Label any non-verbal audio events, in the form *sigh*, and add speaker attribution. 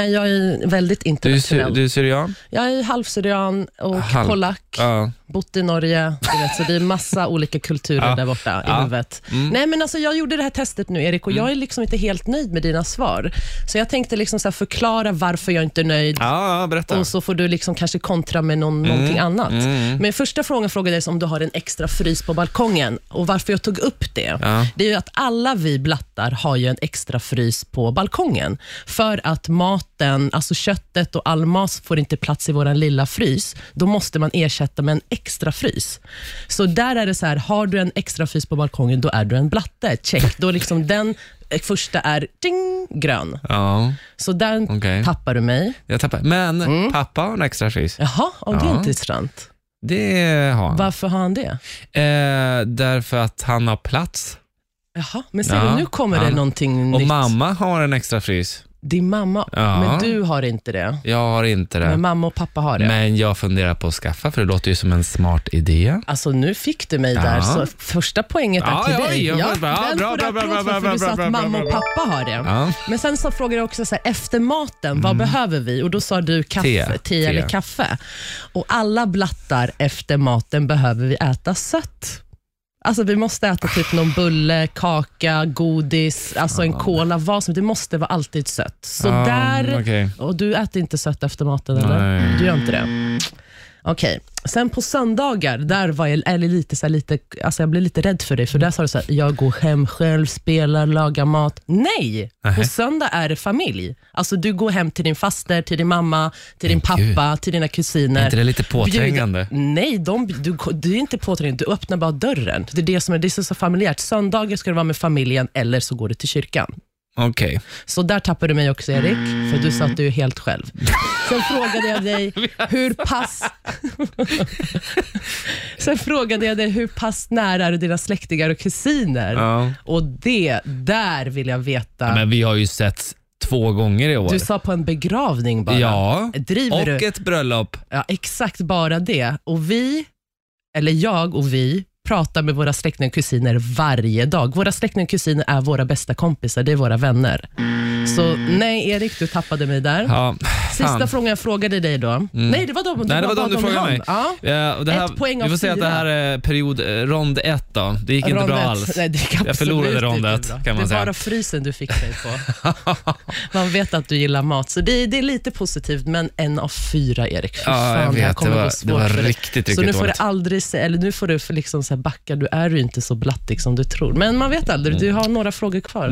Speaker 1: Nej, Jag är väldigt
Speaker 2: Du, är sy-
Speaker 1: internationell.
Speaker 2: du är syrian?
Speaker 1: Jag är halvsyrian och
Speaker 2: Halv-
Speaker 1: polack,
Speaker 2: Ja.
Speaker 1: bott i Norge. Du vet, så det är
Speaker 2: *laughs*
Speaker 1: massa olika kulturer
Speaker 2: Ja.
Speaker 1: där borta
Speaker 2: Ja. Mm.
Speaker 1: i huvudet. Nej, men alltså, jag gjorde det här testet nu, Erik, och jag är liksom inte helt nöjd med dina svar. Så jag tänkte liksom så här, förklara varför jag inte är nöjd.
Speaker 2: Ja, ja, Mm. berätta.
Speaker 1: Och så får du liksom kanske kontra med någon, någonting annat. Men första frågan frågade jag om du har en extra frys på balkongen. Och Varför jag tog upp det,
Speaker 2: Ja.
Speaker 1: det är ju att alla vi blattar har ju en extra frys på balkongen. För att maten, alltså köttet och all mas får inte plats i vår lilla frys. Då måste man ersätta med en extra frys. Så där är det så här, har du en extra frys på balkongen, då är du en blatte. Check. Då liksom den eh, första är ding, grön.
Speaker 2: Ja,
Speaker 1: Så där
Speaker 2: Okej.
Speaker 1: tappar du mig.
Speaker 2: jag tappar. Men pappa har en extra frys.
Speaker 1: Jaha, och det
Speaker 2: Ja.
Speaker 1: är intressant.
Speaker 2: Det har han.
Speaker 1: Varför har han det?
Speaker 2: Eh, därför att han har plats.
Speaker 1: Jaha, men ser
Speaker 2: Ja,
Speaker 1: du, nu kommer det
Speaker 2: han-
Speaker 1: någonting
Speaker 2: Och
Speaker 1: nytt.
Speaker 2: mamma har en extra frys.
Speaker 1: Din mamma,
Speaker 2: Ja.
Speaker 1: men du har inte det.
Speaker 2: Jag har inte det.
Speaker 1: Men mamma och pappa har det.
Speaker 2: Men jag funderar på att skaffa, för det låter ju som en smart idé.
Speaker 1: Alltså nu fick du mig där,
Speaker 2: Ja.
Speaker 1: så första poänget är
Speaker 2: Ja,
Speaker 1: till
Speaker 2: ja,
Speaker 1: dig.
Speaker 2: ja,
Speaker 1: Ja,
Speaker 2: ja, bra,
Speaker 1: den
Speaker 2: bra,
Speaker 1: får du
Speaker 2: bra, bra,
Speaker 1: applåd
Speaker 2: bra,
Speaker 1: för, för du
Speaker 2: bra,
Speaker 1: sa
Speaker 2: bra,
Speaker 1: att mamma
Speaker 2: bra,
Speaker 1: och
Speaker 2: bra.
Speaker 1: pappa har det.
Speaker 2: Ja.
Speaker 1: Men sen så frågade jag också så här, efter maten, vad behöver vi? Och Då sa du kaffe,
Speaker 2: Mm. Te,
Speaker 1: te,
Speaker 2: te.
Speaker 1: eller kaffe. Och alla blattar efter maten behöver vi äta sött. Alltså Vi måste äta typ någon bulle, kaka, godis, alltså
Speaker 2: Ah.
Speaker 1: en cola, vad som Det måste vara alltid sött. Så
Speaker 2: Ja,
Speaker 1: där...
Speaker 2: Ah, okej.
Speaker 1: Och du äter inte sött efter maten eller?
Speaker 2: Nej.
Speaker 1: Du gör inte det? Okej. Sen på söndagar, där var jag, eller lite, så här, lite, alltså jag blev lite rädd för dig, för där sa du så här, jag går hem själv, spelar, lagar mat. Nej!
Speaker 2: Nähä.
Speaker 1: På söndag är det familj. Alltså Du går hem till din faster, till din mamma, till din
Speaker 2: Men gud.
Speaker 1: pappa, till dina
Speaker 2: Är
Speaker 1: kusiner.
Speaker 2: inte det lite påträngande?
Speaker 1: Bjuda- Nej, de, du, du är inte påträngande. Du öppnar bara dörren. Det är det som är, det är så- så familjärt. Söndagar ska du vara med familjen eller så går du till kyrkan.
Speaker 2: Okej.
Speaker 1: Så där tappade du mig också Erik,
Speaker 2: Mm.
Speaker 1: för du sa att du är helt själv.
Speaker 2: *laughs*
Speaker 1: Sen frågade jag dig hur pass... Sen frågade jag dig hur pass nära är du dina släktingar och kusiner?
Speaker 2: Ja.
Speaker 1: Och det, där vill jag veta.
Speaker 2: Men vi har ju sett två gånger i år.
Speaker 1: du sa på en begravning bara.
Speaker 2: Ja,
Speaker 1: Driver
Speaker 2: och
Speaker 1: du?
Speaker 2: ett bröllop.
Speaker 1: Ja, exakt bara det. Och vi, eller jag och vi, pratar med våra släktingar och kusiner varje dag. Våra släktingar och kusiner är våra bästa kompisar, det är våra vänner. Så nej, Erik, du tappade mig där.
Speaker 2: Ja,
Speaker 1: Sista
Speaker 2: fan. Mm.
Speaker 1: frågan jag frågade dig då. Nej, det var de,
Speaker 2: Nej, det var
Speaker 1: bara
Speaker 2: de du
Speaker 1: i
Speaker 2: frågade
Speaker 1: rond.
Speaker 2: mig.
Speaker 1: Ja.
Speaker 2: Ja, Eh, och det här,
Speaker 1: Ett poäng
Speaker 2: vi
Speaker 1: av
Speaker 2: får säga att det
Speaker 1: fyra.
Speaker 2: här är period, eh, rond ett då. Det gick inte bra
Speaker 1: Rondet.
Speaker 2: alls. *laughs*
Speaker 1: Nej, det gick
Speaker 2: Jag
Speaker 1: absolut
Speaker 2: förlorade
Speaker 1: inte
Speaker 2: rondet,
Speaker 1: bra.
Speaker 2: kan man
Speaker 1: det
Speaker 2: säga.
Speaker 1: är bara frysen du fick mig på. man vet att du gillar mat, så det, det är lite positivt, men en av fyra, Erik. Fy
Speaker 2: Ja,
Speaker 1: fan,
Speaker 2: jag
Speaker 1: det här
Speaker 2: vet. Det
Speaker 1: kommer
Speaker 2: var,
Speaker 1: gå svårt
Speaker 2: det var
Speaker 1: för dig.
Speaker 2: riktigt, riktigt
Speaker 1: Så nu får du
Speaker 2: dåligt.
Speaker 1: aldrig se, eller
Speaker 2: Mm.
Speaker 1: nu får du för liksom så här backa, du är ju inte så blattig som du tror. Men man vet aldrig, du har några frågor kvar.